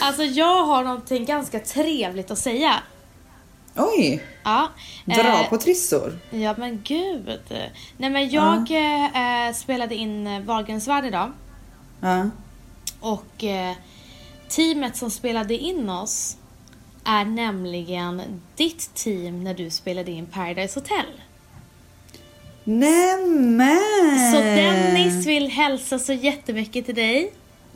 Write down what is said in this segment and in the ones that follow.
alltså jag har någonting ganska trevligt att säga. Oj, Ja. dra eh, på trissor. Ja men gud. Nej men jag eh, spelade in Wahlgrens värld idag. Ja. Och eh, teamet som spelade in oss är nämligen ditt team när du spelade in Paradise Hotel. Nämen! Så Dennis vill hälsa så jättemycket till dig.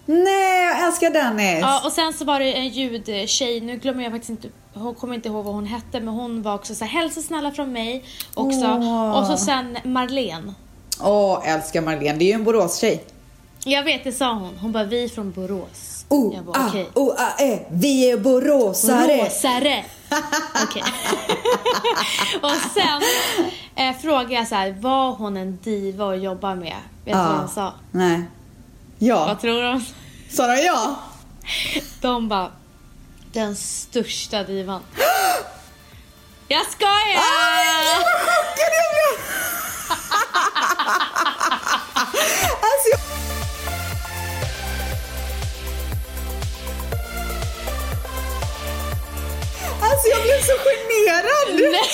Nej, jag älskar Dennis! Ja, och sen så var det en ljudtjej, nu glömmer jag faktiskt inte, hon kommer inte ihåg vad hon hette, men hon var också så här, hälsa snälla från mig också. Åh. Och så sen Marlene. Åh, älskar Marlene. Det är ju en Borås-tjej. Jag vet, det sa hon. Hon bara, vi är från Borås. Oh, jag bara, ah, okej. oh, ah, eh. Vi är boråsare! Rosare. Okej. och sen eh, frågade jag så här, var hon en diva att jobba med? Vet du vad Ah. hon sa? Nej. Ja. Vad tror de? Sa de ja? De bara, den största divan. jag skojar! Ah! Alltså, jag... Alltså jag blev så generad! Nej.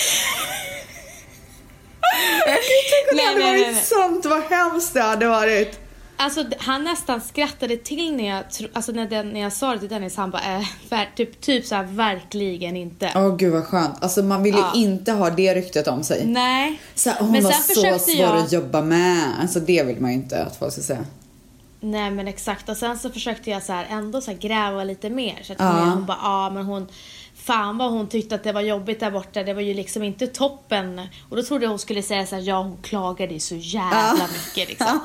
Tänk om det Nej, hade nej, varit nej, nej. sant, vad hemskt det hade varit. Alltså d- han nästan skrattade till när jag, tro- alltså, när den, när jag sa det till Dennis, han bara, eh, ver- typ, typ så här, verkligen inte. Åh gud vad skönt, alltså man vill ju Ja. inte ha det ryktet om sig. Nej. Så här, hon Men var sen så försökte svår jag- att jobba med. Alltså det vill man ju inte att folk ska säga. Nej men exakt och sen så försökte jag så här ändå så här gräva lite mer så att Ja. hon, hon bara ja men hon Fan vad hon tyckte att det var jobbigt där borta, det var ju liksom inte toppen. Och då trodde jag hon skulle säga så här, ja hon klagade ju så jävla mycket liksom.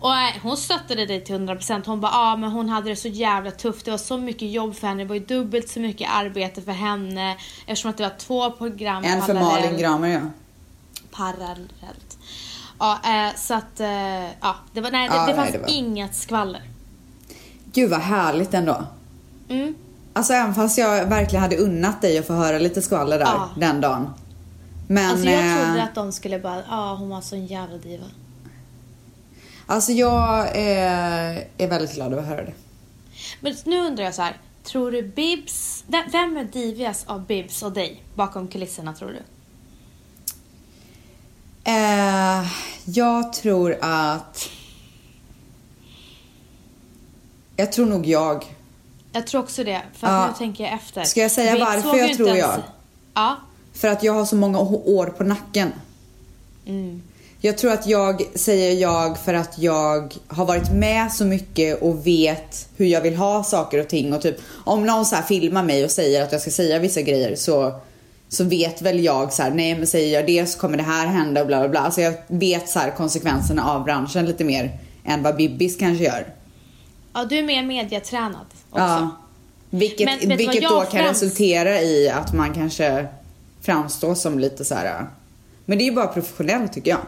Och eh, hon stöttade dig till 100%, hon bara ja men hon hade det så jävla tufft, det var så mycket jobb för henne, det var ju dubbelt så mycket arbete för henne. Eftersom att det var två program En för parallellt Malin Gramer ja. parallellt. Ja, eh, så att, eh, ja, det, var, nej, det, Ja, det nej, fanns det var- inget skvaller. Gud vad härligt ändå. Mm. Alltså även fast jag verkligen hade unnat dig att få höra lite skvaller där Ja. den dagen. Men Alltså jag eh, trodde att de skulle bara, ja hon var sån jävla diva. alltså jag eh, är väldigt glad över att höra det. Men nu undrar jag så här, tror du Bibs, vem- vem är divigast av Bibs och dig bakom kulisserna tror du? Eh, jag tror att... Jag tror nog jag. Jag tror också det, för att Ja. nu tänker jag efter. Ska jag säga Bibs varför vågar jag ju inte tror ens- jag? Ja. För att jag har så många å- år på nacken. Mm. Jag tror att jag säger jag för att jag har varit med så mycket och vet hur jag vill ha saker och ting. Och typ, om någon så här filmar mig och säger att jag ska säga vissa grejer så, så vet väl jag så här, nej men säger jag det så kommer det här hända och bla bla bla. Alltså jag vet så här konsekvenserna av branschen lite mer än vad Bibbis kanske gör. ja, du är mer mediatränad också. Ja. Vilket, Men vet du vad vilket jag då kan främst- resultera i att man kanske framstår som lite så här. Men det är ju bara professionellt tycker jag.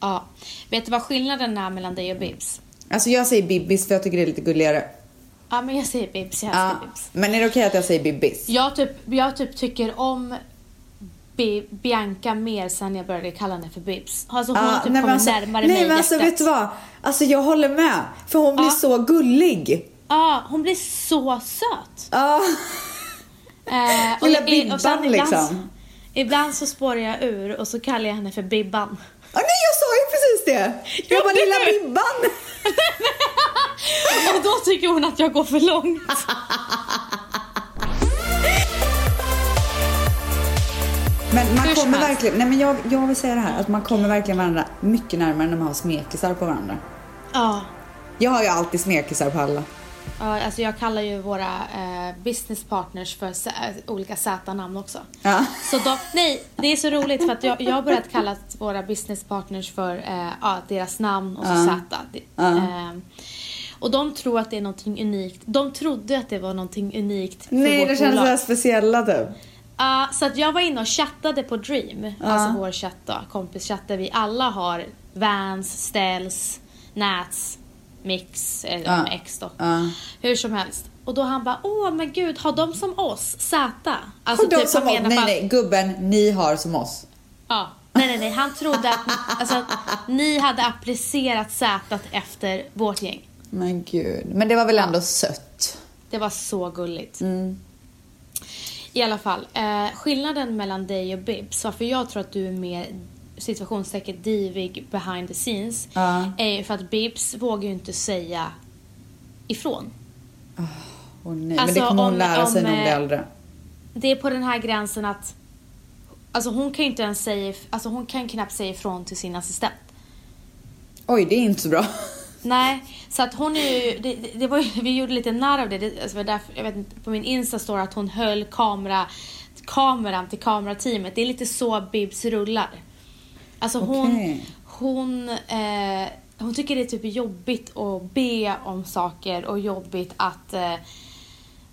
Ja. Vet du vad skillnaden är mellan dig och Bibs? Alltså jag säger Bibbis för jag tycker det är lite gulligare. Ja men jag säger Bibs, jag älskar Ja. Bibs. Men är det okej att jag säger Bibbis? Jag typ, jag typ tycker om Bi- Bianca mer sen jag började kalla henne för Bibs. Alltså hon har Ja, typ nej, men kommit alltså- närmare mig Nej i men alltså hjärtat. vet du vad? Alltså jag håller med. För hon blir Ja. så gullig. Ja, hon blir så söt. Ja. Eh, Lilla i- i- Bibban, liksom. Ibland, ibland så spårar jag ur och så kallar jag henne för Bibban. Åh nej jag sa ju precis det! Jag bara Gjorde lilla du? Bibban! Och då tycker hon att jag går för långt. Men man Hur som kommer helst. verkligen, nej men jag, jag vill säga det här att man kommer verkligen varandra mycket närmare när man har smekisar på varandra. Ja, Jag har ju alltid smekisar på alla. ja, alltså jag kallar ju våra eh, business partners för s- eh, olika Z-namn också. Ja. Så de, nej, det är så roligt för att jag, jag har börjat kalla våra business partners för eh, ja, deras namn och så Ja. Z. Det- Ja. ehm, och de tror att det är någonting unikt. De trodde att det var någonting unikt för Nej vårt det känns bolag. såhär speciella typ. Ja, så att jag var inne och chattade på Dream, alltså vår chatt då, kompischatt där vi alla har Vans, Ställs, Nats, Mix, eller Ja. X då. Ja. Hur som helst. Och då han bara, åh men gud, har de som oss, Z? Alltså Har de typ, som han oss? menar Nej bara- nej gubben, ni har som oss. Ja. Nej, nej, nej, han trodde att, alltså, att ni hade applicerat Z efter vårt gäng. Men gud, men det var väl ändå sött. Det var så gulligt. I alla fall, eh, skillnaden mellan dig och Bibs, varför jag tror att du är mer situationstecken divig behind the scenes, Ja. är ju för att Bibs vågar ju inte säga ifrån. Åh nej, men Alltså, det kommer hon om- lära sig om, när hon blir eh, äldre. Det är på den här gränsen att Alltså hon kan ju inte ens säga, if- alltså hon kan knappt säga ifrån till sin assistent. Oj, det är inte så bra. Nej, så att hon är ju, det, det- det var ju, vi gjorde lite narr av det, det alltså det var därför, jag vet inte, på min Insta står att hon höll kamera, kameran till kamerateamet. Det är lite så Bibs rullar. Alltså hon, Okej. hon, eh, hon tycker det är typ jobbigt att be om saker och jobbigt att, eh,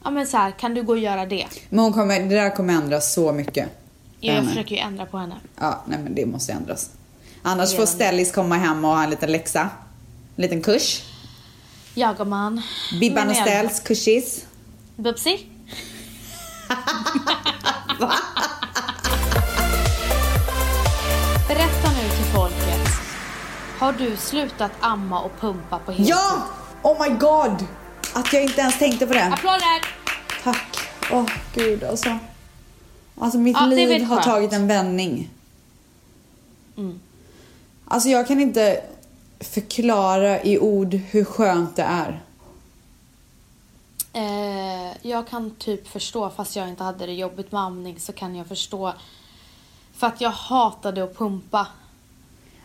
ja men så här, kan du gå och göra det? Men hon kommer, det där kommer ändras så mycket. Jag Henne. försöker ju ändra på henne. Ja, nej men det måste ändras. Annars får Redan. Stellis komma hem och ha en liten läxa. En liten kurs. Jag och man. Bibban och Men jag- Stells kursis. Bubsi? Berätta nu till folket. Har du slutat amma och pumpa på heltid? Ja! Oh my god! Att jag inte ens tänkte på det. Applåder! Tack. Åh oh, gud alltså. Alltså mitt Ja, det är liv väl har skönt. Mm. tagit en vändning. Alltså jag kan inte förklara i ord hur skönt det är. Eh, jag kan typ förstå, fast jag inte hade det jobbigt med amning så kan jag förstå. För att jag hatade att pumpa.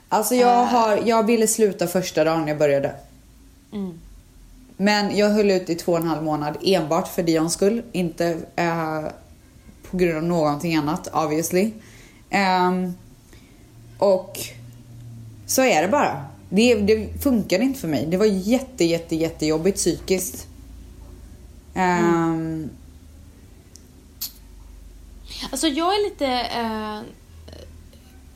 Alltså jag, har, jag ville sluta första dagen jag började. Men jag höll ut i två och en halv månad enbart för Dions skull. Inte eh, på grund av någonting annat obviously. Ehm, och så är det bara. Det, det funkade inte för mig. Det var jätte, jätte, jättejobbigt psykiskt. Ehm, Alltså jag är lite eh,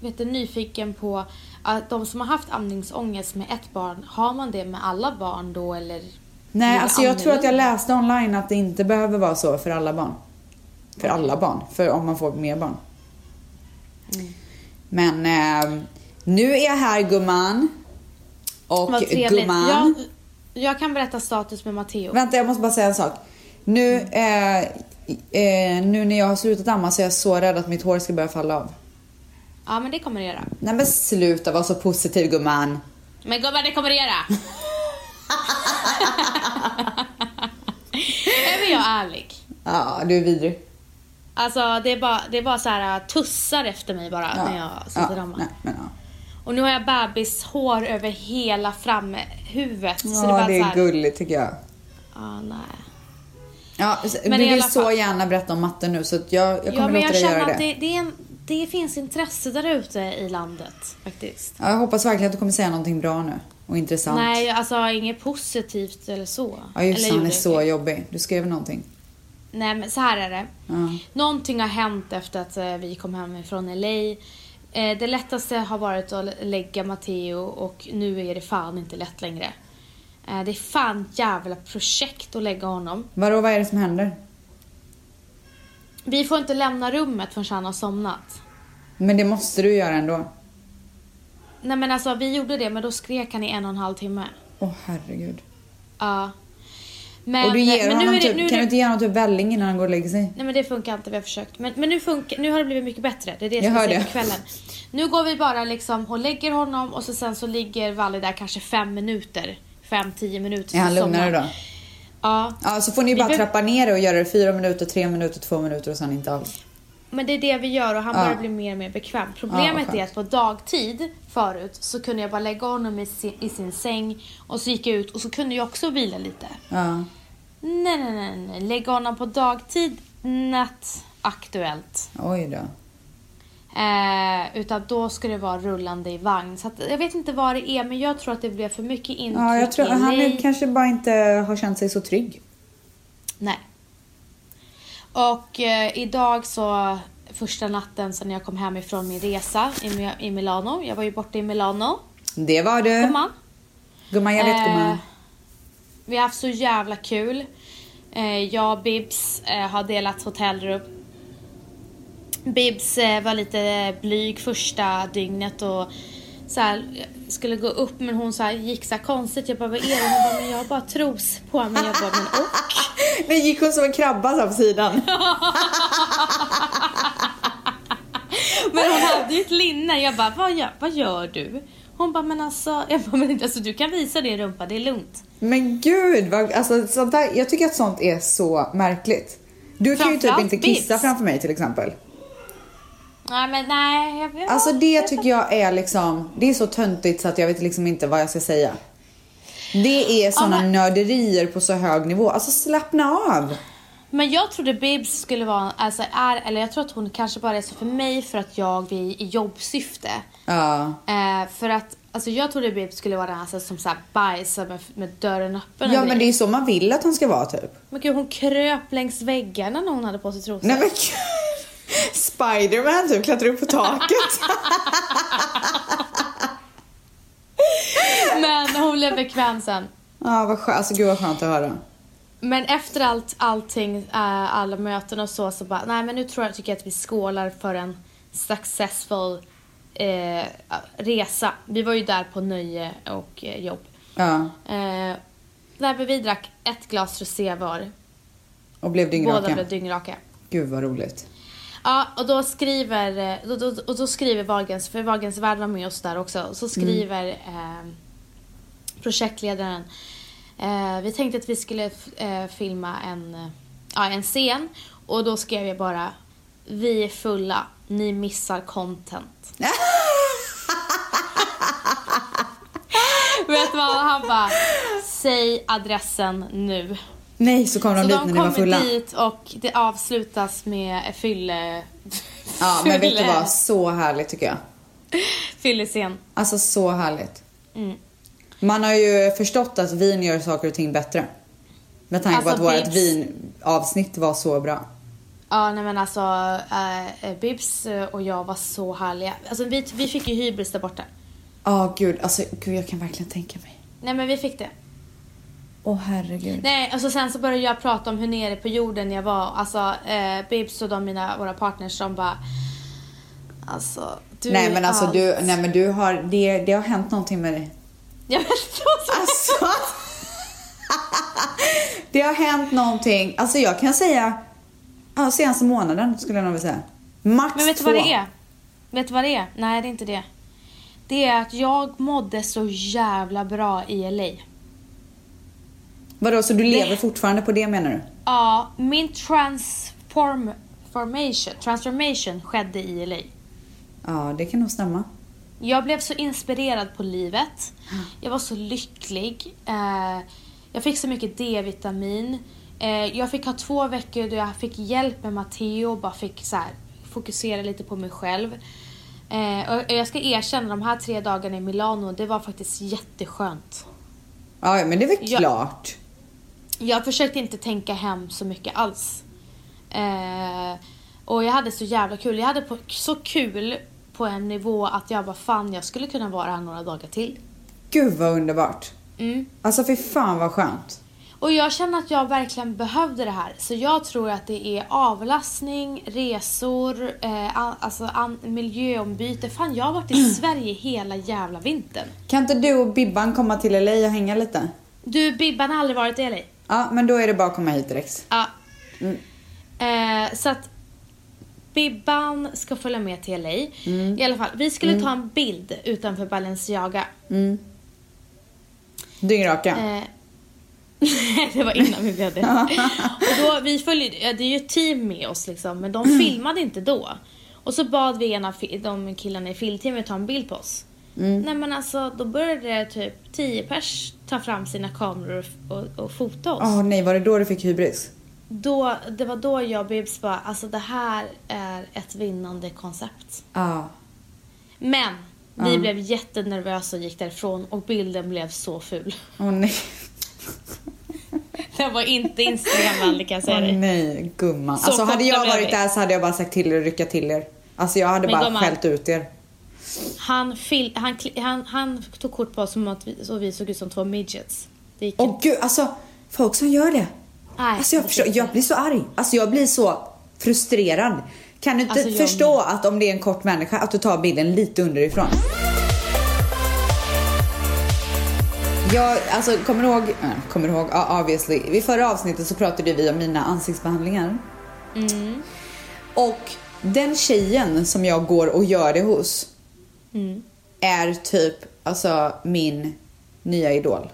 vet du, nyfiken på att de som har haft amningsångest med ett barn, har man det med alla barn då eller? Nej, blir det alltså jag tror att jag annorlunda? läste online att det inte behöver vara så för alla barn. För alla barn, för om man får mer barn. Mm. Men eh, nu är jag här gumman. Och Vad trevligt. gumman. Jag, jag kan berätta status med Matteo. Vänta, jag måste bara säga en sak. Nu, eh, eh, nu när jag har slutat amma så är jag så rädd att mitt hår ska börja falla av. Ja men det kommer det göra. Nej men sluta vara så positiv gumman. Men gubbar det kommer det göra. är väl jag ärlig? Ja, du är vidrig. Alltså det är bara, det är bara så här tussar efter mig bara Ja, när jag sitter hemma. nej, men, ja. Och nu har jag bebishår över hela framhuvudet. så det är ja, bara det så är här, gulligt tycker jag. Ja, nej. Ja, Men du i vill alla så fall- gärna berätta om matten nu så att jag, jag Ja, kommer men låta jag dig känner göra det. att det, det, är en, det finns intresse där ute i landet faktiskt. Ja, jag hoppas verkligen att du kommer säga någonting bra nu och intressant. Nej, alltså inget positivt eller så. ja, just det, eller han är gjorde så jag. jobbig. Du skrev någonting. Nej, men så här är det. Ja. Någonting har hänt efter att eh, vi kom hem från LA. Eh, det lättaste har varit att lägga Matteo och nu är det fan inte lätt längre. Eh, det är fan jävla projekt att lägga honom. Vadå, vad är det som händer? Vi får inte lämna rummet förrän han har somnat. Men det måste du göra ändå. Nej men alltså vi gjorde det men då skrek han i en och en halv timme. Åh herregud. Ja. Men, och du ger men nu honom är det, typ, nu är kan du det, inte ge honom typ välling innan han går och lägger sig? Nej men det funkar inte, vi har försökt. Men, men nu, funkar, nu har det blivit mycket bättre. Det är det Jag som hör jag säger det. på kvällen. Nu går vi bara liksom och lägger honom och så sen så ligger Valle där kanske fem minuter. Fem, tio minuter. Är så han lugnare somnar då? Ja. Ja, så får ni Vi bara behöver- trappa ner det och göra det fyra minuter, tre minuter, två minuter och sen inte alls. Men det är det vi gör och han Ja. börjar bli mer och mer bekväm. Ja, vad Problemet skönt. är att på dagtid förut så kunde jag bara lägga honom i sin, i sin säng och så gick jag ut och så kunde jag också vila lite. Ja. Nej, nej, nej, nej. Lägga honom på dagtid, natt, aktuellt. Oj då. Eh, utan då ska det vara rullande i vagn. Så att, jag vet inte vad det är men jag tror att det blev för mycket intryck Ja, jag tror i han mig. är, kanske bara inte har känt sig så trygg. Nej. Och eh, idag så första natten sen jag kom hem ifrån min resa i, Mi- i Milano. Jag var ju borta i Milano. Det var du. Gumman. Gumman, Mm. jag vet Eh, gumman. Vi har haft så jävla kul. Eh, jag och Bibs eh, har delat hotellrum. Bibs eh, var lite blyg första dygnet och så här, skulle gå upp men hon så här, gick så här konstigt. Jag bara, vad är det? Hon bara, men jag har bara tros på mig. Jag bara, men och? Men gick hon som en krabba så här på sidan? Men hon hade ju ett linne. Jag bara, vad gör, vad gör du? Hon bara, men alltså, jag bara, men alltså du kan visa din rumpa, det är lugnt. Men gud, vad, alltså, sånt där, jag tycker att sånt är så märkligt. Du kan ju typ Framförallt inte kissa bits. framför mig till exempel. Nej men nej. Jag, jag, Alltså det tycker jag är liksom, det är så töntigt så att jag vet liksom inte vad jag ska säga. Det är såna men- nörderier på så hög nivå. Alltså slappna av. Men jag trodde Bibs skulle vara, alltså är, eller jag tror att hon kanske bara är så för mig för att jag är i jobbsyfte. Ja. Eh, för att, alltså jag trodde Bibs skulle vara den här alltså, som såhär bajsar med, med dörren öppen. och Ja men grejer. det är ju så man vill att hon ska vara typ. men gud hon kröp längs väggarna när hon hade på sig trosor. Nej men gud. Spiderman typ klättrar upp på taket. Men hon blev bekväm sen. Ja vad skönt, alltså gud vad skönt att höra. Men efter allt, allting, eh, alla möten och så, så bara, nej men nu tror jag, tycker jag att vi skålar för en successful eh, resa. Vi var ju där på nöje och eh, jobb. Ja. Eh, nej men vi drack ett glas rosé var. Och blev Båda dyngraka. blev dyngraka. Gud vad roligt. Ja, och då skriver, eh, då, då, och då skriver Wagens, för Wagens värld var med oss där också, och så skriver eh, projektledaren, eh, vi tänkte att vi skulle f- eh, filma en, eh, ja, en scen och då skrev jag bara, vi är fulla, ni missar content. Vet du vad, han bara, säg adressen nu. Nej så kom de Så de dit när ni var kommer fulla. dit och det avslutas med fylle... Ja men vet du fylle- vad, så härligt tycker jag. Fyllescen. Alltså så härligt. Mm. Man har ju förstått att vin gör saker och ting bättre. Med tanke Alltså, på att vårt Bibs- vinavsnitt var så bra. Ja, nej men alltså äh, Bibs och jag var så härliga. Alltså vi, vi fick ju hybris där borta. Ja gud, alltså gud jag kan verkligen tänka mig. Nej men vi fick det. Åh herregud. Nej, alltså sen så började jag prata om hur nere på jorden jag var. Alltså eh, Bibs och de mina, våra partners de bara... Alltså du Nej är men alltså allt. du, nej men du har, det, det har hänt någonting med dig. Jag vet inte vad som... Alltså. det har hänt någonting, alltså jag kan säga, ja, senaste månaden skulle jag nog vilja säga. Max Men vet du två. vad det är? Vet du vad det är? Nej, det är inte det. Det är att jag mådde så jävla bra i LA. Vadå, så du lever fortfarande på det menar du? Ja, min transform, formation, transformation skedde i LA. Ja det kan nog stämma. Jag blev så inspirerad på livet. Jag var så lycklig. Eh, jag fick så mycket D-vitamin. Eh, jag fick ha två veckor då jag fick hjälp med Matteo och bara fick så här, fokusera lite på mig själv. Eh, och jag ska erkänna, de här tre dagarna i Milano, det var faktiskt jätteskönt. Ja ja, men det är väl Ja. klart. Jag försökte inte tänka hem så mycket alls. Eh, och jag hade så jävla kul. Jag hade på, så kul på en nivå att jag bara fan, jag skulle kunna vara här några dagar till. Gud vad underbart. Mm. Alltså fy fan vad skönt. Och jag känner att jag verkligen behövde det här. Så jag tror att det är avlastning, resor, eh, an, alltså an, miljöombyte. Fan, jag har varit i Sverige hela jävla vintern. Kan inte du och Bibban komma till LA och hänga lite? Du, Bibban har aldrig varit i LA. Ja, men då är det bara att komma hit direkt. Ja. Eh, så att Bibban ska följa med till LA. I alla fall, vi skulle ta en bild utanför Balenciaga. Dyngraka. Eh, Nej, det var innan vi blev det. och då, vi följde, ja, det är ju ett team med oss liksom, men de filmade inte då. Och så bad vi en av fi- de killarna i filmteamet ta en bild på oss. Nej men alltså, då började det typ 10 pers ta fram sina kameror och, f- och, och fota oss. Åh nej, var det då du fick hybris? Då, det var då jag och Bibs bara, alltså det här är ett vinnande koncept. Ja. Men, vi blev jättenervösa och gick därifrån och bilden blev så ful. Åh nej. Den var inte instagramvänlig kan jag Åh säga dig. nej, gumman. Så alltså hade korta jag blev varit vi. där så hade jag bara sagt till er att rycka till er. Alltså jag hade Men bara gumman. skällt ut er. Han, fil- han, kli- han, han tog kort på oss som att vi, så vi såg ut som två midgets. Det gick Åh gud, alltså folk som gör det. Nej, alltså jag, det förstår, finns jag inte. blir så arg. Alltså jag blir så frustrerad. Kan du inte Alltså, jag förstå att om det är en kort människa att du tar bilden lite underifrån? Jag, alltså kommer du ihåg, nej, kommer du ihåg, ja obviously. Vid förra avsnittet så pratade vi om mina ansiktsbehandlingar. Mm. Och den tjejen som jag går och gör det hos Mm. är typ alltså min nya idol.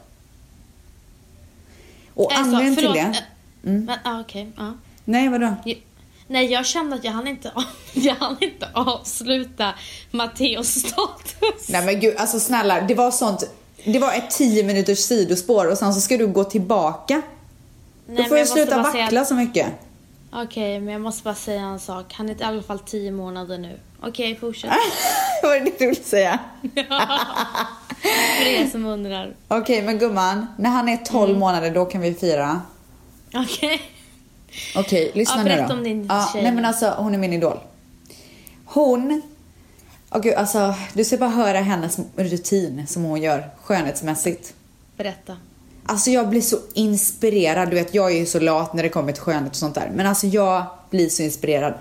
Och Alltså, anledningen till förlåt, det. Mm. eh, Men, ah, okej. ja. Nej vadå? Jag- Nej, jag kände att jag hann inte, jag hann inte avsluta Matteos status. Nej men gud alltså snälla det var sånt. Det var ett 10 minuters sidospår och sen så ska du gå tillbaka. Nej, Då men får jag jag måste sluta bara säga vackla att- så mycket. Okej, men jag måste bara säga en sak. Han är i alla fall tio månader nu. Okej, fortsätt. Ah. Vad är det du vill säga? För er som undrar. Okej men gumman, när han är 12 Mm. månader då kan vi fira. Okej. Okej, lyssna Ja, nu då. berätta om din ja, tjej. Nej men alltså hon är min idol. Hon, åh gud alltså du ska bara höra hennes rutin som hon gör skönhetsmässigt. Berätta. Alltså jag blir så inspirerad, du vet jag är ju så lat när det kommer till skönhet och sånt där. Men alltså jag blir så inspirerad.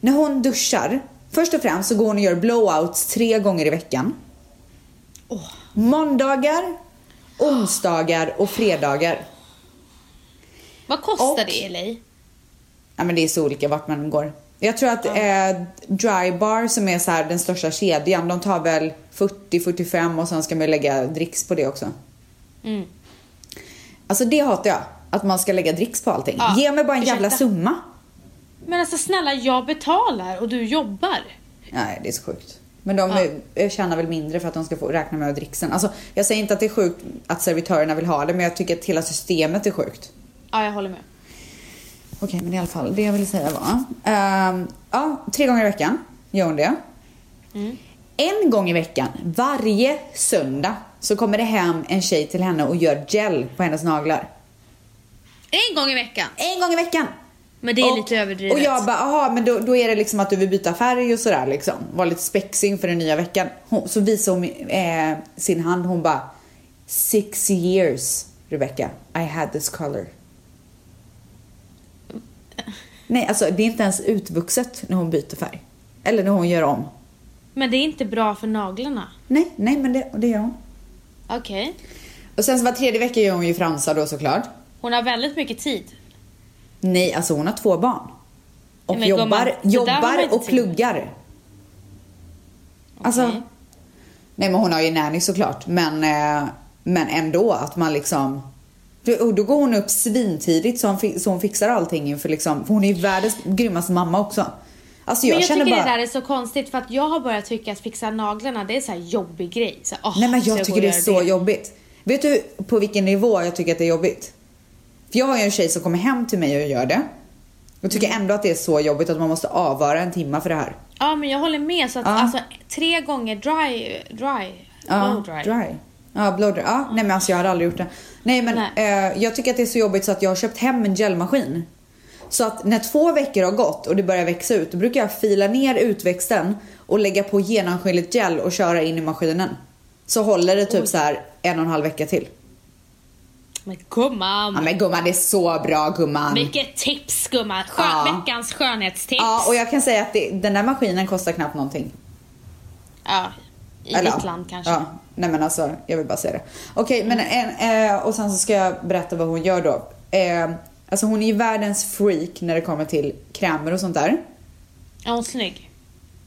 När hon duschar, först och främst så går hon och gör blowouts tre gånger i veckan. Åh. Måndagar, onsdagar och fredagar. Vad kostar Och- det LA? Ja men det är så olika vart man går. Jag tror att eh, Drybar som är så här den största kedjan, de tar väl 40-45 och sen ska man ju lägga dricks på det också. Mm. Alltså det hatar jag, att man ska lägga dricks på allting. Ja, Ge mig bara en jävla ursäkta. summa. Men alltså snälla, jag betalar och du jobbar. Nej det är så sjukt. Men de eh, tjänar väl mindre för att de ska få räkna med dricksen. Alltså jag säger inte att det är sjukt att servitörerna vill ha det men jag tycker att hela systemet är sjukt. Ja, jag håller med. Okej, men i alla fall, det jag ville säga var... ehm, ja, tre gånger i veckan gör hon det. En gång i veckan, varje söndag, så kommer det hem en tjej till henne och gör gel på hennes naglar. En gång i veckan. En gång i veckan! Men det är Och- lite överdrivet. Och jag bara, aha, men då, då är det liksom att du vill byta färg och sådär liksom. Var lite spexig inför den nya veckan. Hon, så visar hon eh, sin hand, hon bara... Six years, Rebecca. I had this color. Nej, alltså det är inte ens utvuxet när hon byter färg. Eller när hon gör om. Men det är inte bra för naglarna. Nej, nej men det, det gör hon. Okej. Och sen så var tredje vecka gör hon ju fransar då såklart. Hon har väldigt mycket tid. Nej, alltså hon har två barn. Och Nej, men gumman, jobbar, det där har man jobbar inte och tid med. pluggar. Alltså, Okej. nej men hon har ju nanny såklart. Men, eh, men ändå att man liksom. Du- Och då går hon upp svintidigt så hon, fi- så hon fixar allting inför liksom. För hon är ju världens grymmaste mamma också. Alltså jag, men jag känner tycker bara. det där är så konstigt för att jag har börjat tycka att fixa naglarna det är så här jobbig grej. Så, här, åh, Nej men ska jag gå tycker och det är göra så jobbigt. Vet du på vilken nivå jag tycker att det är jobbigt? För jag har ju en tjej som kommer hem till mig och gör det. Jag tycker ändå att det är så jobbigt att man måste avvara en timma för det här. Ja men jag håller med så att Ja. alltså tre gånger dry, dry, Ja, blow dry. Ja, blow dry. Ja, nej men alltså jag har aldrig gjort det. Nej men Eh, jag tycker att det är så jobbigt så att jag har köpt hem en gelmaskin. Så att när två veckor har gått och det börjar växa ut, då brukar jag fila ner utväxten och lägga på genomskinligt gel och köra in i maskinen. Så håller det typ så här en och en halv vecka till. Men gumman! Ja men gumman det är så bra gumman. Vilket tips gumman! Skön, Ja. Veckans skönhetstips! Ja och jag kan säga att det, den där maskinen kostar knappt någonting. Ja, I Eller, ditt ja. land kanske. Mm. Ja. Nej men alltså, jag vill bara säga det. Okej, men en, eh, och sen så ska jag berätta vad hon gör då. Eh, alltså hon är ju världens freak när det kommer till krämer och sånt där. Är hon snygg?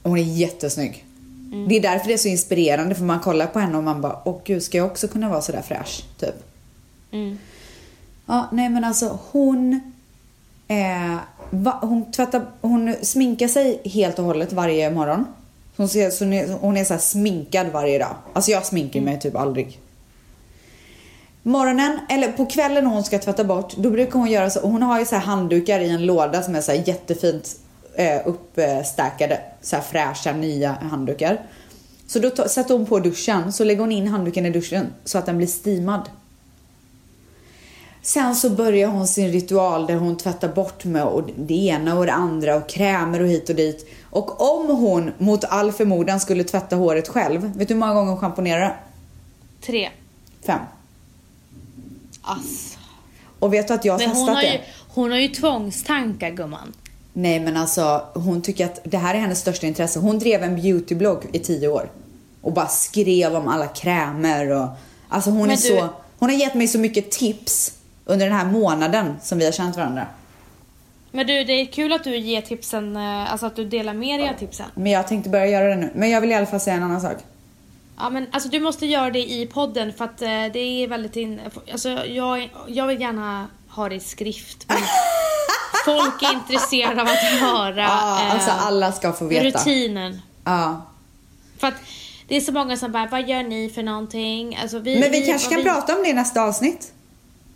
Och hon är jättesnygg. Mm. Det är därför det är så inspirerande för man kollar på henne och man bara, åh gud ska jag också kunna vara sådär fräsch? Typ. Mm. Ja, nej men alltså hon... Eh, va, hon, tvättar, hon sminkar sig helt och hållet varje morgon. Hon, ser, så hon är, hon är så här sminkad varje dag. Alltså jag sminkar mig typ aldrig. Morgonen, eller på kvällen när hon ska tvätta bort, då brukar hon göra så. Hon har ju så här handdukar i en låda som är så här jättefint eh, uppstäkade. Så här fräscha nya handdukar. Så då ta- sätter hon på duschen, så lägger hon in handduken i duschen så att den blir steamad. Sen så börjar hon sin ritual där hon tvättar bort med och det ena och det andra och krämer och hit och dit. Och om hon mot all förmodan skulle tvätta håret själv, vet du hur många gånger hon schamponerar det? Tre. Fem. Ass. Och vet du att jag har Men testat hon har, det? ju, hon har ju tvångstankar gumman. Nej men alltså hon tycker att det här är hennes största intresse. Hon drev en beautyblogg i tio år. Och bara skrev om alla krämer och alltså hon Men är du- så Hon har gett mig så mycket tips under den här månaden som vi har känt varandra. Men du, det är kul att du ger tipsen, eh, alltså att du delar med dig av tipsen. Men jag tänkte börja göra det nu. Men jag vill i alla fall säga en annan sak. Ja men alltså du måste göra det i podden för att eh, det är väldigt in... Alltså jag, jag vill gärna ha det i skrift. Men folk är intresserade av att höra Ja, eh, alltså alla ska få veta. rutinen. Ja. För att det är så många som bara, vad gör ni för någonting? Alltså, vi, Men vi kanske och kan vi- prata om det i nästa avsnitt.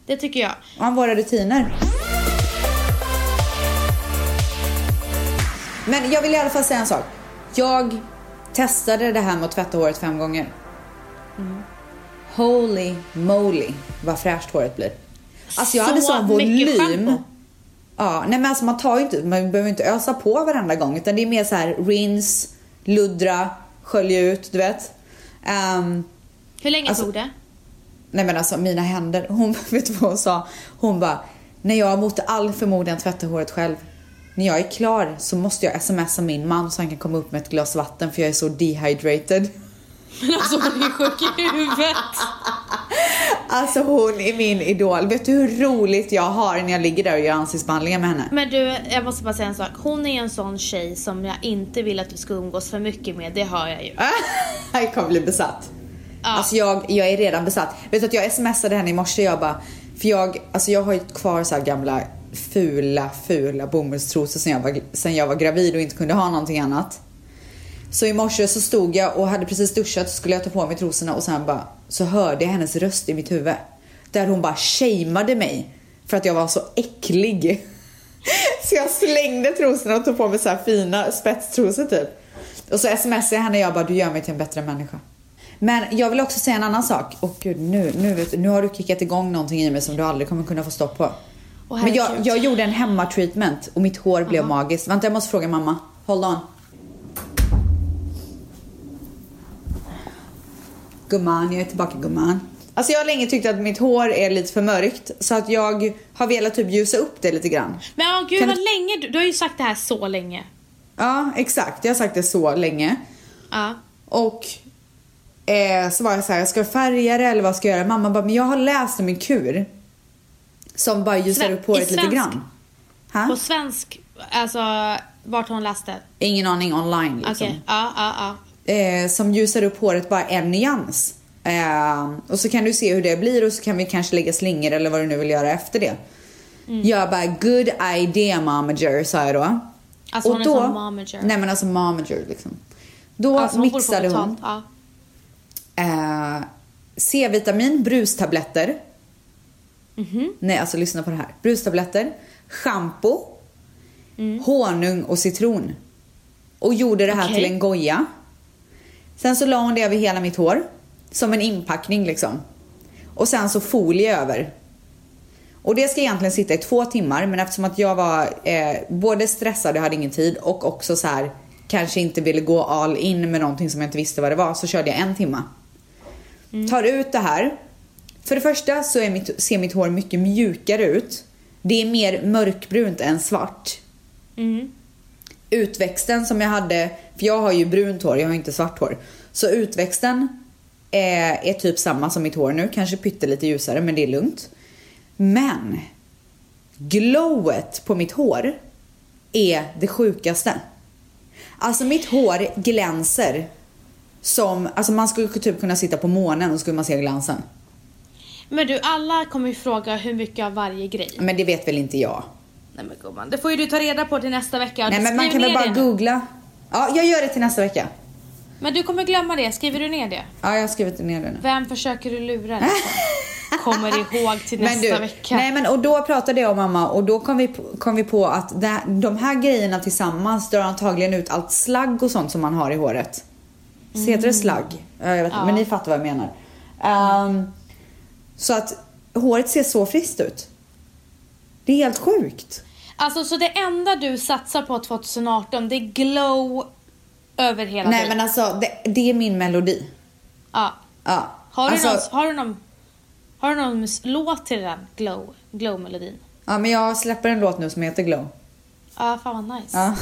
Det tycker jag. Om våra rutiner. Men jag vill i alla fall säga en sak. Jag testade det här med att tvätta håret fem gånger. Holy moly vad fräscht håret blir. Alltså jag Så hade sån mycket volym. shampoo. Ja, nej men alltså man tar ju inte, man behöver inte ösa på varenda gång utan det är mer så här rinse, luddra, skölj ut, du vet. Ehm, Hur länge Alltså- tog det? Nej men alltså mina händer. Hon, vet du vad hon sa? Hon bara, när jag mot all förmodan tvättar håret själv. När jag är klar så måste jag smsa min man så han kan komma upp med ett glas vatten för jag är så dehydrated. Men alltså hon är sjuk i huvudet. Alltså hon är min idol. Vet du hur roligt jag har när jag ligger där och gör ansiktsbehandlingar med henne? Men du, jag måste bara säga en sak. Hon är en sån tjej som jag inte vill att du ska umgås för mycket med, det hör jag ju. Jag kommer bli besatt. Ja. Alltså jag, jag är redan besatt. Vet du att jag smsade henne i morse jag bara, för jag, alltså jag har ju kvar så här gamla fula, fula bomullstrosor sen jag, var, sen jag var gravid och inte kunde ha någonting annat. Så i morse så stod jag och hade precis duschat så skulle jag ta på mig trosorna och sen bara så hörde jag hennes röst i mitt huvud. Där hon bara shameade mig för att jag var så äcklig. Så jag slängde trosorna och tog på mig så här fina spetstrosor typ. Och så smsade jag henne och jag bara du gör mig till en bättre människa. Men jag vill också säga en annan sak. Och gud, nu, nu, vet, du- nu har du kickat igång någonting i mig som du aldrig kommer kunna få stopp på. Åh, Men jag, herregud. jag gjorde en hemmatreatment och mitt hår blev magiskt. Vänta jag måste fråga mamma. Hold on. Gumman, jag är tillbaka gumman. Alltså jag har länge tyckt att mitt hår är lite för mörkt så att jag har velat typ ljusa upp det lite grann. Men åh gud Kan vad länge, du, du har ju sagt det här så länge. Ja, exakt. Jag har sagt det så länge. Ja. Och eh, så var jag så här, ska jag färga det eller vad ska jag göra? Mamma bara, men jag har läst om en kur som bara ljusar Sve- upp håret i lite svensk- grann. Ha? På svensk, alltså vart hon läste? Ingen aning online liksom. Okej, ja, ja, ja. eh, som ljusar upp håret bara en nyans. Eh, och så kan du se hur det blir och så kan vi kanske lägga slingor eller vad du nu vill göra efter det. Mm. Jag bara good idea momager sa jag då. Alltså, hon är sån momager. Nej men alltså momager liksom. Då Alltså, hon borde få mixade hon betalt, Ja. eh, C-vitamin, brustabletter. Nej alltså lyssna på det här. Brustabletter, shampoo, honung och citron. Och gjorde det här Okej. till en goja. Sen så la hon det över hela mitt hår. Som en inpackning liksom. Och sen så folie över. Och det ska egentligen sitta i två timmar men eftersom att jag var eh, både stressad och hade ingen tid och också så här kanske inte ville gå all in med någonting som jag inte visste vad det var så körde jag en timma. Mm. Tar ut det här. För det första så är mitt, ser mitt hår mycket mjukare ut. Det är mer mörkbrunt än svart Mm. utväxten som jag hade, för jag har ju brunt hår, jag har inte svart hår. Så utväxten är, är typ samma som mitt hår nu, kanske pyttelite ljusare men det är lugnt. Men glowet på mitt hår är det sjukaste. Alltså mitt hår glänser som, alltså man skulle typ kunna sitta på månen och skulle man se glansen. Men du, alla kommer ju fråga hur mycket av varje grej. Men det vet väl inte jag. Nej men gumman, det får ju du ta reda på till nästa vecka. Nej men man Skriv kan väl ner bara det nu. googla. Ja, jag gör det till nästa vecka. Men du kommer glömma det, skriver du ner det? Ja, jag har skrivit ner det nu. Vem försöker du lura liksom? Kommer ihåg till nästa vecka. Nej men och då pratade jag och mamma och då kom vi, på- kom vi på att det, de här grejerna tillsammans drar antagligen ut allt slagg och sånt som man har i håret. Så heter det slagg? Ja, jag vet, inte, Mm. Ja. Men ni fattar vad jag menar. Ehm, så att håret ser så friskt ut. Det är helt sjukt. Alltså så det enda du satsar på 2018 det är glow över hela Nej dig. men alltså det, det är min melodi. Ja. Ja. Har, alltså, du någon, har, du någon, har du någon mus- låt till den glow, glow-melodin? Ja men jag släpper en låt nu som heter Glow. Ja, fan vad nice. Ja.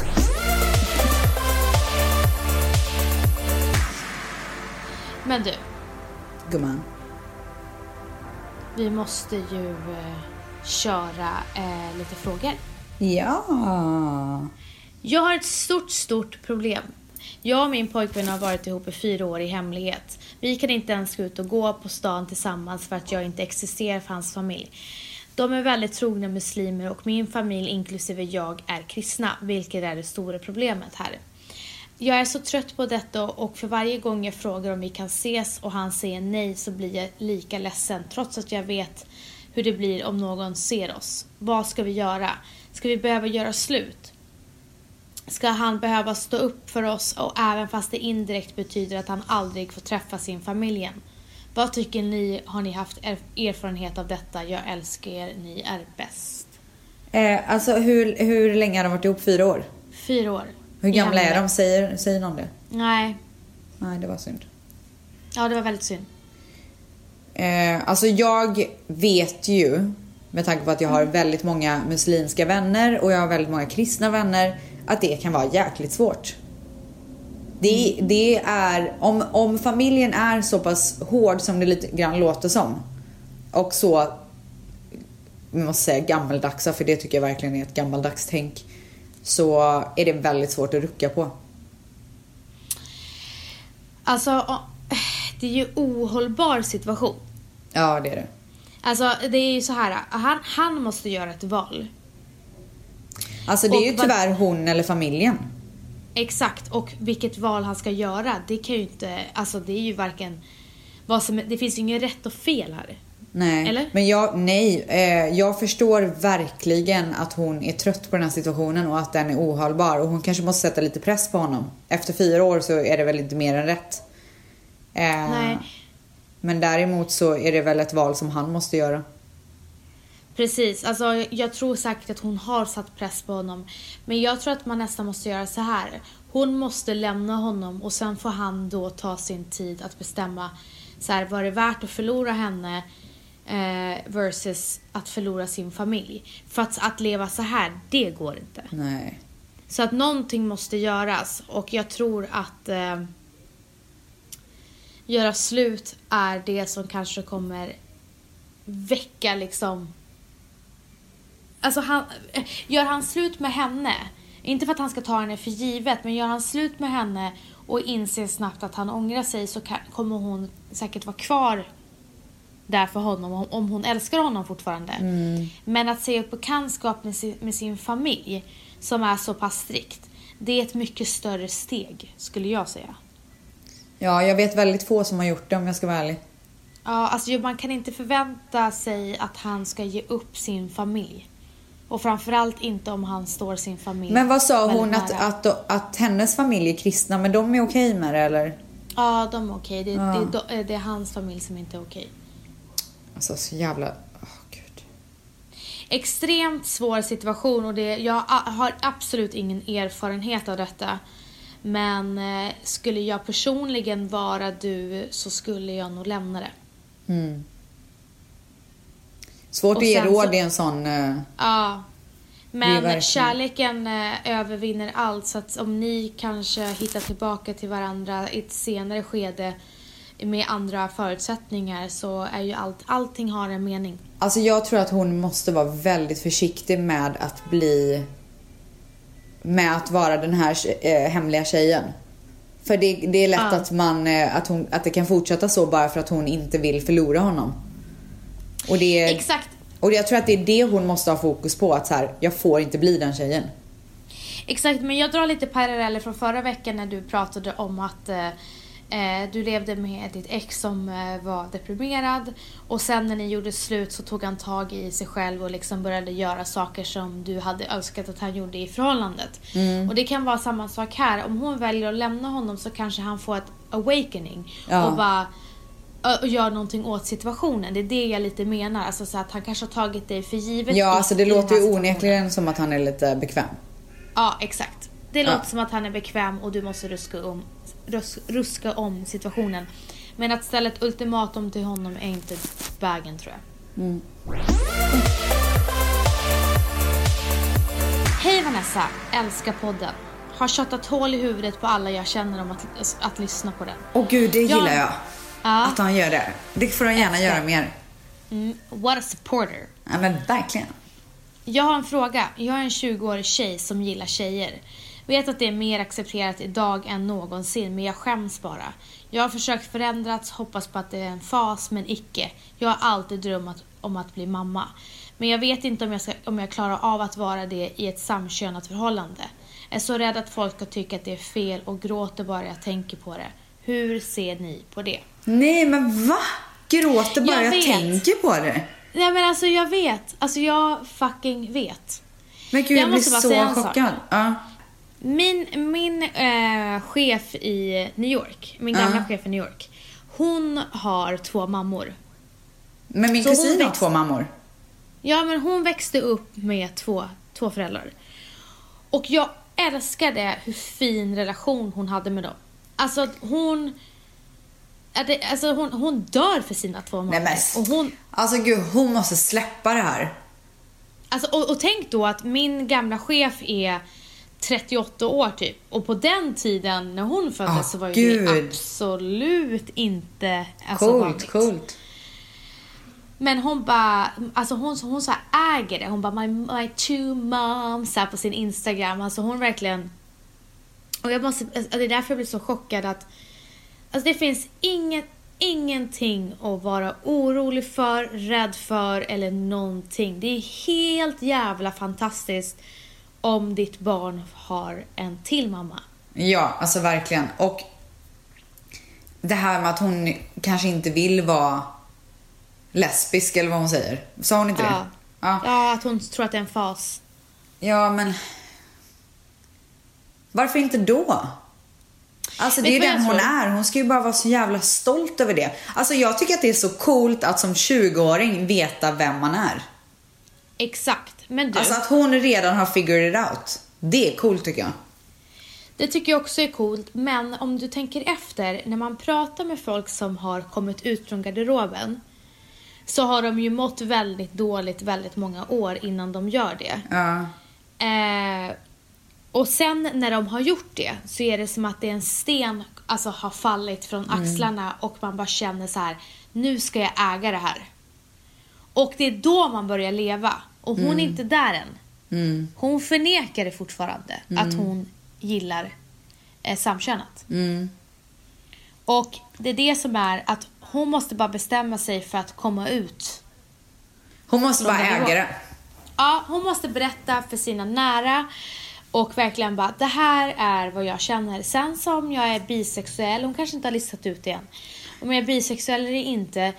Men du, Gumman. Vi måste ju eh, köra eh, lite frågor. Ja. Jag har ett stort, stort problem. Jag och min pojkvän har varit ihop i fyra år i hemlighet. Vi kan inte ens gå ut och gå på stan tillsammans för att jag inte existerar för hans familj. De är väldigt trogna muslimer och min familj, inklusive jag, är kristna, vilket är det stora problemet här. Jag är så trött på detta och för varje gång jag frågar om vi kan ses och han säger nej så blir jag lika ledsen trots att jag vet hur det blir om någon ser oss. Vad ska vi göra? Ska vi behöva göra slut? ska han behöva stå upp för oss och även fast det indirekt betyder att han aldrig får träffa sin familj igen. Vad tycker ni? Har ni haft er- erfarenhet av detta? Jag älskar er, ni är bäst. Eh, alltså hur, hur länge har de varit ihop? Fyra år? Fyra år. Hur gamla är Jävlar. de? Säger, säger någon det? Nej. Nej, det var synd. Ja, det var väldigt synd. Eh, alltså jag vet ju, med tanke på att jag har väldigt många muslimska vänner och jag har väldigt många kristna vänner, att det kan vara jäkligt svårt. Det, det är, om, om familjen är så pass hård som det lite grann låter som och så, vi måste säga gammaldagsa för det tycker jag verkligen är ett gammaldags tänk, så är det väldigt svårt att rucka på. Alltså, å- det är ju ohållbar situation. Ja, det är det. Alltså, det är ju så här. Han, han måste göra ett val. Alltså det Och är ju vad- tyvärr hon eller familjen. Exakt, och vilket val han ska göra, det kan ju inte, alltså det är ju varken, vad som, det finns ju ingen rätt och fel här. Nej, Eller? men jag, nej, eh, jag förstår verkligen att hon är trött på den här situationen och att den är ohållbar och hon kanske måste sätta lite press på honom. Efter fyra år så är det väl inte mer än rätt. Eh, Nej. Men däremot så är det väl ett val som han måste göra. Precis, alltså jag tror säkert att hon har satt press på honom. Men jag tror att man nästan måste göra så här. Hon måste lämna honom och sen får han då ta sin tid att bestämma så här, var det värt att förlora henne eh, versus att förlora sin familj. För att, att leva så här, det går inte. Nej. Så att någonting måste göras och jag tror att eh, göra slut är det som kanske kommer väcka liksom... Alltså han, eh, gör han slut med henne, inte för att han ska ta henne för givet, men gör han slut med henne och inser snabbt att han ångrar sig så kan, kommer hon säkert vara kvar där för honom om- om hon älskar honom fortfarande. Men att säga upp bekantskap med sin, med sin familj som är så pass strikt, det är ett mycket större steg skulle jag säga. Ja, jag vet väldigt få som har gjort det om jag ska vara ärlig. Ja, alltså ju- man kan inte förvänta sig att han ska ge upp sin familj. Och framförallt inte om han står sin familj Men vad sa väldigt hon att, nära. att, att hennes familj är kristna, men de är okej med det eller? Ja, de är okej. Det, Ja. det, är do- eh, det är hans familj som inte är okej. Alltså så jävla... Åh gud. extremt svår situation och det, jag a- har absolut ingen erfarenhet av detta. Men eh, skulle jag personligen vara du så skulle jag nog lämna det. Mm. Svårt Och att ge sen råd så- i en sån... eh, Ja. Det är Men verkligen- kärleken eh, övervinner allt så att om ni kanske hittar tillbaka till varandra i ett senare skede med andra förutsättningar så är ju allt, allting har en mening. Alltså jag tror att hon måste vara väldigt försiktig med att bli... Med att vara den här eh, hemliga tjejen. För det, det är lätt Ja. att, man, eh, att, hon, att det kan fortsätta så bara för att hon inte vill förlora honom. Och, det, Exakt. och jag tror att det är det hon måste ha fokus på. Att så här, jag får inte bli den tjejen. Exakt, men jag drar lite paralleller från förra veckan när du pratade om att eh, eh, du levde med ditt ex som eh, var deprimerad och sen när ni gjorde slut så tog han tag i sig själv och liksom började göra saker som du hade önskat att han gjorde i förhållandet. Mm. Och det kan vara samma sak här, om hon väljer att lämna honom så kanske han får ett awakening Ja. och bara ö, och gör någonting åt situationen. Det är det jag lite menar. Alltså så att han kanske har tagit dig för givet. Ja, i- alltså det i den låter här ju situationen. onekligen som att han är lite bekväm. Ja, exakt. Det Ja. låter som att han är bekväm och du måste ruska om, rus, ruska om situationen. Men att ställa ett ultimatum till honom är inte vägen tror jag. Hej Vanessa, älskar podden. Har tjatat hål i huvudet på alla jag känner om att, att lyssna på den. Och gud, det Ja. gillar jag. Ja. Att han gör det. Det får han gärna Älskar. göra mer. Mm, what a supporter. Ja men verkligen. Jag har en fråga. Jag är en 20-årig tjej som gillar tjejer. Vet att det är mer accepterat idag än någonsin, men jag skäms bara. Jag har försökt förändras, hoppas på att det är en fas, men icke. Jag har alltid drömt om att bli mamma. Men jag vet inte om jag, ska, om jag klarar av att vara det i ett samkönat förhållande. Jag är så rädd att folk ska tycka att det är fel och gråter bara jag tänker på det. Hur ser ni på det? Nej men va? Gråter bara Jag jag, vet. tänker på det. Nej men alltså jag vet. Alltså jag fucking vet. Men gud Jag jag, blir måste bara säga en så sak. chockad. Ja. Min, min eh, chef i New York, min gamla Ja. chef i New York, hon har två mammor. Men min Så hon kusin har växte- två mammor. Ja, men hon växte upp med två, två föräldrar. Och jag älskade hur fin relation hon hade med dem. Alltså att hon... att det- Alltså hon, hon dör för sina två mammor. Nej men. och, hon, Alltså gud hon måste släppa det här. alltså, och, och tänk då att min gamla chef är 38 år typ. Och på den tiden när hon föddes Ah, så var ju det gud. absolut inte alltså, Coolt, vanligt. coolt. Men hon bara, alltså hon, hon så här äger det. Hon bara my, my two moms så här på sin Instagram. Alltså hon verkligen. Och jag måste, alltså det är därför jag blir så chockad att alltså det finns ingen, ingenting att vara orolig för, rädd för eller någonting. Det är helt jävla fantastiskt om ditt barn har en till mamma. Ja, alltså verkligen. Och det här med att hon kanske inte vill vara lesbisk eller vad hon säger. Sa hon inte Ja. det? Ja. ja, att hon tror att det är en fas. Ja, men... Varför inte då? Alltså det Vet är du ju vad den jag hon tror? är. Hon ska ju bara vara så jävla stolt över det. Alltså jag tycker att det är så coolt att som 20-åring veta vem man är. Exakt. Men du. Alltså att hon redan har figured it out. Det är coolt tycker jag. Det tycker jag också är coolt, men om du tänker efter, när man pratar med folk som har kommit ut från garderoben så har de ju mått väldigt dåligt väldigt många år innan de gör det. Ja. Eh, och sen när de har gjort det så är det som att det är en sten alltså har fallit från Mm. axlarna och man bara känner så här, nu ska jag äga det här. Och det är då man börjar leva och hon är inte där än. Mm. Hon förnekar det fortfarande att hon gillar eh, samkönat. Mm. Och det är det som är att hon måste bara bestämma sig för att komma ut. Hon måste bara Som det var. äga det. Ja, hon måste berätta för sina nära och verkligen bara det här är vad jag känner. Sen som jag är bisexuell, hon kanske inte har listat ut det än. Om jag är bisexuell eller inte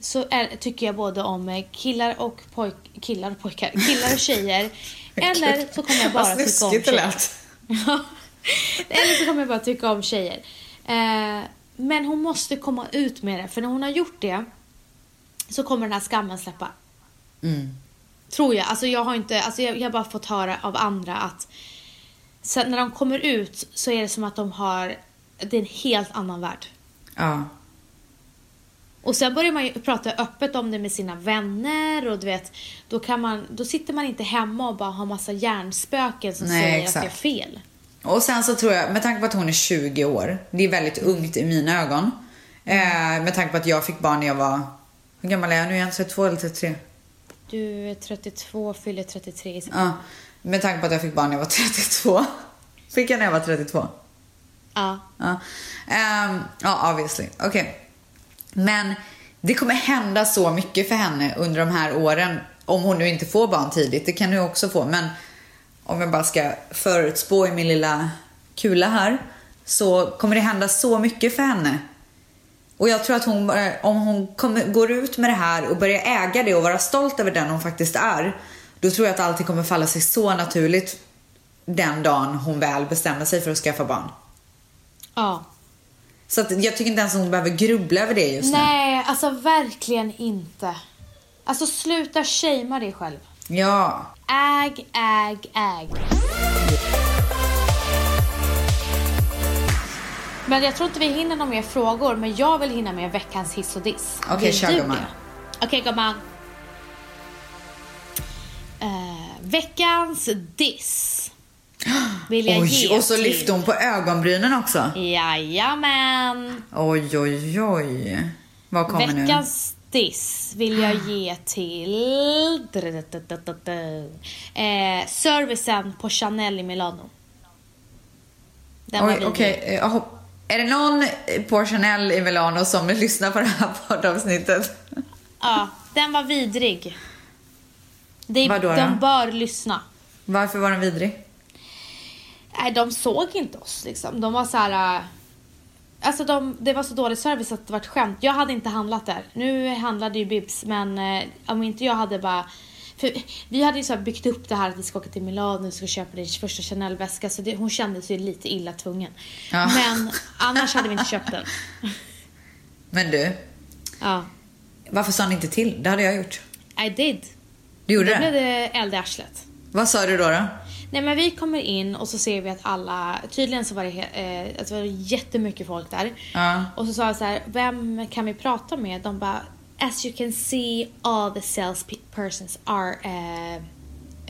så är, tycker jag både om eh, killar och pojk, killar och pojkar, killar och tjejer. Eller så kommer jag bara Vad tycka om snuskigt det tjejer. lät. Ja. Eller så kommer jag bara tycka om tjejer. Eh, men hon måste komma ut med det, för när hon har gjort det så kommer den här skammen släppa. Mm. Tror jag. Alltså jag har inte, alltså jag, jag har bara fått höra av andra att sen när de kommer ut så är det som att de har, det är en helt annan värld. Ja. Och sen börjar man ju prata öppet om det med sina vänner och du vet, då kan man, då sitter man inte hemma och bara har massa hjärnspöken som Nej, säger att exakt. jag är fel. Och sen så tror jag, med tanke på att hon är 20 år, det är väldigt ungt i mina ögon. Eh, med tanke på att jag fick barn när jag var, hur gammal är jag nu igen? 32 eller 33? Du är 32, fyller 33 i Ja. Med tanke på att jag fick barn när jag var 32. Fick jag när jag var 32? Ja. Ja, Ehm, ja obviously. Okej. Men det kommer hända så mycket för henne under de här åren. Om hon nu inte får barn tidigt, det kan hon ju också få. Men om jag bara ska förutspå i min lilla kula här. Så kommer det hända så mycket för henne. Och jag tror att hon, bara- om hon kommer, går ut med det här och börjar äga det och vara stolt över den hon faktiskt är. Då tror jag att allting kommer falla sig så naturligt den dagen hon väl bestämmer sig för att skaffa barn. ja. Så att jag tycker inte ens hon behöver grubbla över det just Nej, alltså verkligen inte. Alltså sluta shamea dig själv. nu. Ja. Äg, äg, äg. Men jag tror inte vi hinner några mer frågor, men jag vill hinna med veckans hiss och diss. Okej, Vill kör, du gumman. det? Okej, gumman. Eh, veckans diss vill jag Oj, ge och så till- lyfte hon på ögonbrynen också. Jajamän. Oj, oj, oj. Vad kommer nu? Veckans grattis vill jag ge till eh, servicen på Chanel i Milano. Den var Oj, vidrig. okej. Jag hopp- Är det någon på Chanel i Milano som lyssnar på det här poddavsnittet? Ja, den var vidrig. De, Vadå då? de bör lyssna. Varför var den vidrig? Nej, de såg inte oss liksom. De var så här... äh, Alltså de, det var så dålig service att det var ett skämt. Jag hade inte handlat där. Nu handlade ju Bibs men eh, om inte jag hade bara... För vi hade ju så här byggt upp det här att vi ska åka till Milano och ska köpa din första Chanel-väska så det, hon kände sig lite illa tvungen. Ja. Men annars hade vi inte köpt den. Men du, Ja. varför sa ni inte till? Det hade jag gjort. I did. Du gjorde Då det? blev det eld i arslet. Vad sa du då? då? Nej men vi kommer in och så ser vi att alla, tydligen så var det, he- eh, att det var jättemycket folk där. Ja. Och så sa jag så här, vem kan vi prata med? De bara, as you can see all the sales pe- persons are eh, eh,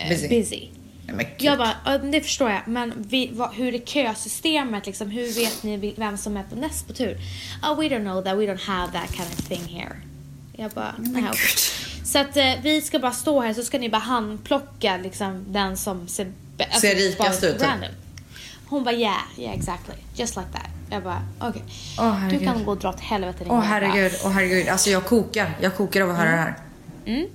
Busy. busy. Nej, men gud. Jag bara, "Ja, men det förstår jag, men vi, vad, hur är kösystemet liksom? Hur vet ni vil- vem som är på näst på tur? Oh, we don't know that, we don't have that kind of thing here. Jag bara, men nej. okej." gud. Så att eh, vi ska bara stå här så ska ni bara handplocka liksom den som ser, bä- Ser rikast bara ut, typ. Random. Hon bara, yeah, yeah exactly, just like that. Jag bara, okej. Åh, du herregud. kan gå och dra åt helvete din Åh jävla- herregud, åh herregud. Alltså jag kokar. Jag kokar av att höra det Mm. här.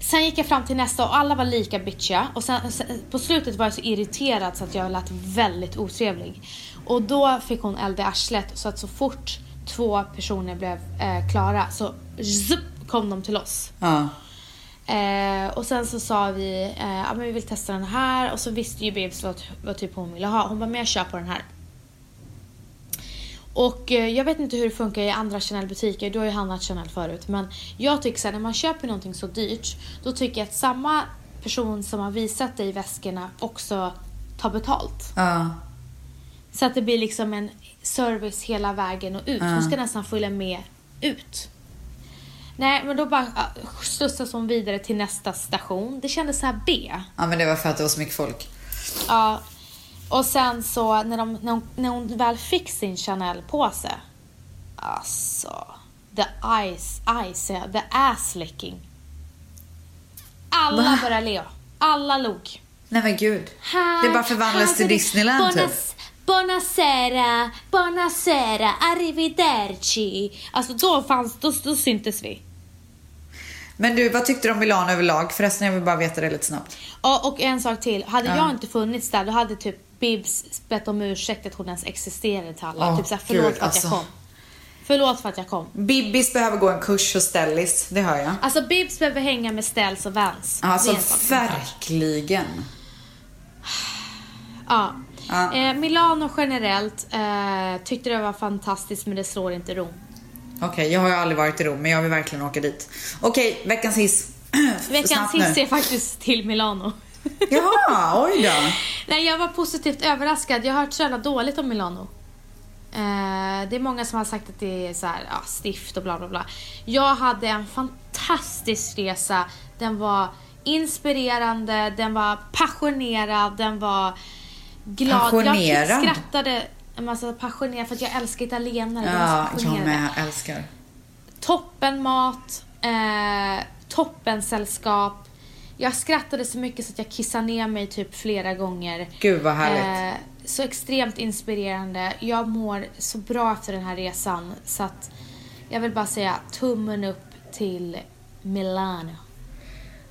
Sen gick jag fram till nästa och alla var lika bitchiga. Och sen, sen, på slutet var jag så irriterad så att jag lät väldigt otrevlig. Och då fick hon eld i arslet så att så fort två personer blev eh, klara så zup, kom de till oss. Ja. Eh, och sen så sa vi, eh, ja men vi vill testa den här och så visste ju Bibs vad, vad typ hon ville ha. Hon var med jag kör på den här. Och eh, jag vet inte hur det funkar i andra Chanel-butiker, du har ju handlat Chanel förut. Men jag tycker så här, när man köper någonting så dyrt, då tycker jag att samma person som har visat dig väskorna också tar betalt. Ja. Så att det blir liksom en service hela vägen och ut. Hon ska nästan följa med ut. Nej, men då bara äh, slussas hon vidare till nästa station. Det kändes så här B. ja, men det var för att det var så mycket folk. Ja. Och sen så när, de, när, hon, när hon väl fick sin Chanel-påse. Alltså. The eyes, eyes, eh, the ass licking. Alla började le. Alla log. Nej men gud. Här det bara förvandlas till hade vi Disneyland typ. Buonas, Buonasera, buonasera, arrivederci. Alltså då fanns, då, då syntes vi. Men du, vad tyckte du om Milano överlag? Förresten, jag vill bara veta det lite snabbt. Ja, och en sak till. Hade jag inte funnits där då hade typ Bibs bett om ursäkt att hon ens existerade till alla. Åh, typ såhär, förlåt gud, för att alltså. jag kom. Förlåt för att jag kom. Bibbis behöver gå en kurs hos Stellis, det hör jag. Alltså Bibs behöver hänga med Ställs och Vans. Alltså Det är en sak. verkligen. Ja. Ja. Eh, Milano generellt eh, tyckte det var fantastiskt men det slår inte Rom. Okej, jag har ju aldrig varit i Rom, men jag vill verkligen åka dit. Okej, veckans hiss. Veckans Snabbt nu. hiss är faktiskt till Milano. Jaha, oj då. Nej, jag var positivt överraskad. Jag har hört så jävla dåligt om Milano. Eh, det är många som har sagt att det är så här, ja, stift och bla bla bla. Jag hade en fantastisk resa. Den var inspirerande, den var passionerad, den var glad. Jag Passionerad? skrattade en massa passionerad för att jag älskar italienare. de är så Ja, jag passionerade. med, älskar. Toppen mat, eh, toppen sällskap. Jag skrattade så mycket så att jag kissade ner mig typ flera gånger. Gud, vad härligt. Eh, så extremt inspirerande. Jag mår så bra efter den här resan så att jag vill bara säga tummen upp till Milano.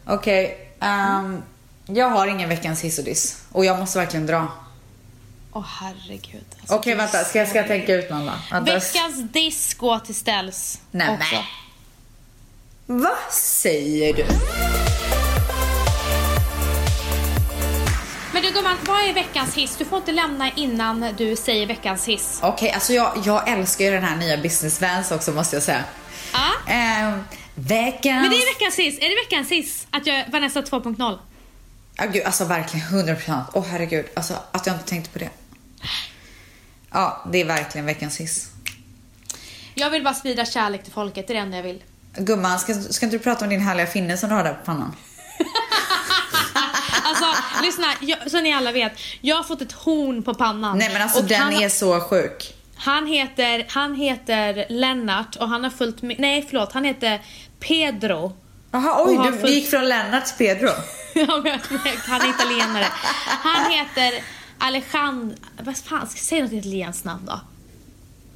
Okej, ehm, jag har ingen veckans hiss och diss. Och jag måste verkligen dra. Åh herregud. Alltså, Okej, vänta. Ska jag, ska jag tänka ut någon då? Vänta. Veckans diss går till ställs. Nej, men. också. Vad säger du? Men du gumman, vad är veckans hiss? Du får inte lämna innan du säger veckans hiss. Okej, alltså jag, jag älskar ju den här nya business vans också måste jag säga. Ja? Ehm, veckans... Men det är veckans hiss. Är det veckans hiss att jag Vanessa 2.0? Ja, gud, alltså verkligen 100 procent. Åh herregud, alltså att jag inte tänkte på det. Ja, det är verkligen veckans hiss. Jag vill bara sprida kärlek till folket, det är det enda jag vill. Gumman, ska, ska inte du prata om din härliga finne som du har där på pannan? Alltså, lyssna, jag, så ni alla vet. Jag har fått ett horn på pannan. Nej men alltså Och den han, är så sjuk. Han heter, han heter Lennart och han har följt med, nej förlåt, han heter Pedro. Jaha, Och oj, har du, följt- vi gick från Lennart till Pedro. Ja, men jag- han är italienare. Han heter Alejandro, vad fan, ska jag säga något italienskt namn då?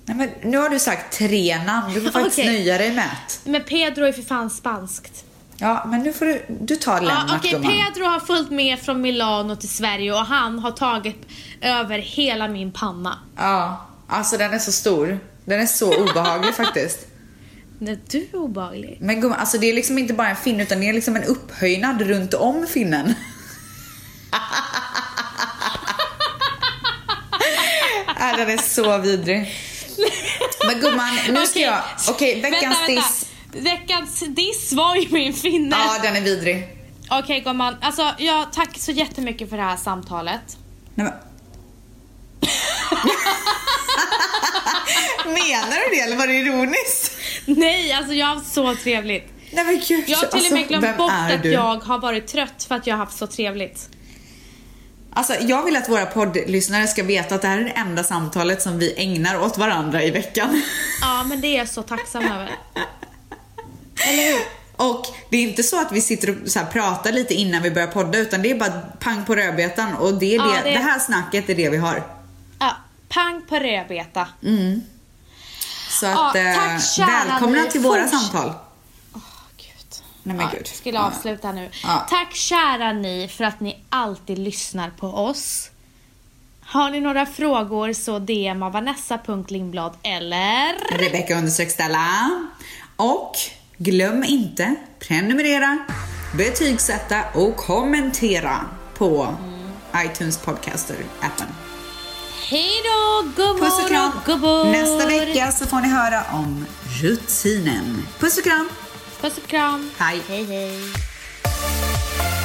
Nej, men nu har du sagt tre namn. Du får faktiskt Okej. nöja dig med ett. Men Pedro är för fan spanskt. Ja, men nu får du... Du tar Ja, Lennart, Okej, gumman. Pedro har följt med från Milano till Sverige och han har tagit över hela min panna. Ja, alltså den är så stor. Den är så obehaglig faktiskt. När du är obehaglig. Men gumman, alltså det är liksom inte bara en finne utan det är liksom en upphöjnad runt om finnen. Nej, Äh, den är så vidrig. Men gumman, nu ska Okej, jag... Okej, veckans vänta, diss. Vänta. Veckans diss var ju min finne. Ja, den är vidrig. Okej gumman, alltså ja, tack så jättemycket för det här samtalet. Nej, men... Menar du det eller var det ironiskt? Nej, alltså jag har haft så trevligt. Nej men gud. Jag har till och med alltså, glömt vem bort är att du? jag har varit trött för att jag har haft så trevligt. Alltså, jag vill att våra poddlyssnare ska veta att det här är det enda samtalet som vi ägnar åt varandra i veckan. Ja, men det är jag så tacksam över. Och det är inte så att vi sitter och så här pratar lite innan vi börjar podda utan det är bara pang på rödbetan och det, är Ja, det, det- det här snacket är det vi har. Ja, pang på rödbeta. Mm. Så att Ja, tack, eh, kära välkomna ni. till våra Forts- samtal. Gud. Nej men ja, gud. jag skulle avsluta nu. Ja. Tack kära ni för att ni alltid lyssnar på oss. Har ni några frågor så DMa vanessa.lindblad eller Rebecka understreck Stella. Och glöm inte prenumerera, betygsätta och kommentera på Mm. iTunes podcaster appen. hej då gummor Puss och kram! och gubbor. Nästa vecka så får ni höra om rutinen. Puss och kram! Puss och kram. Hej! Hej hej.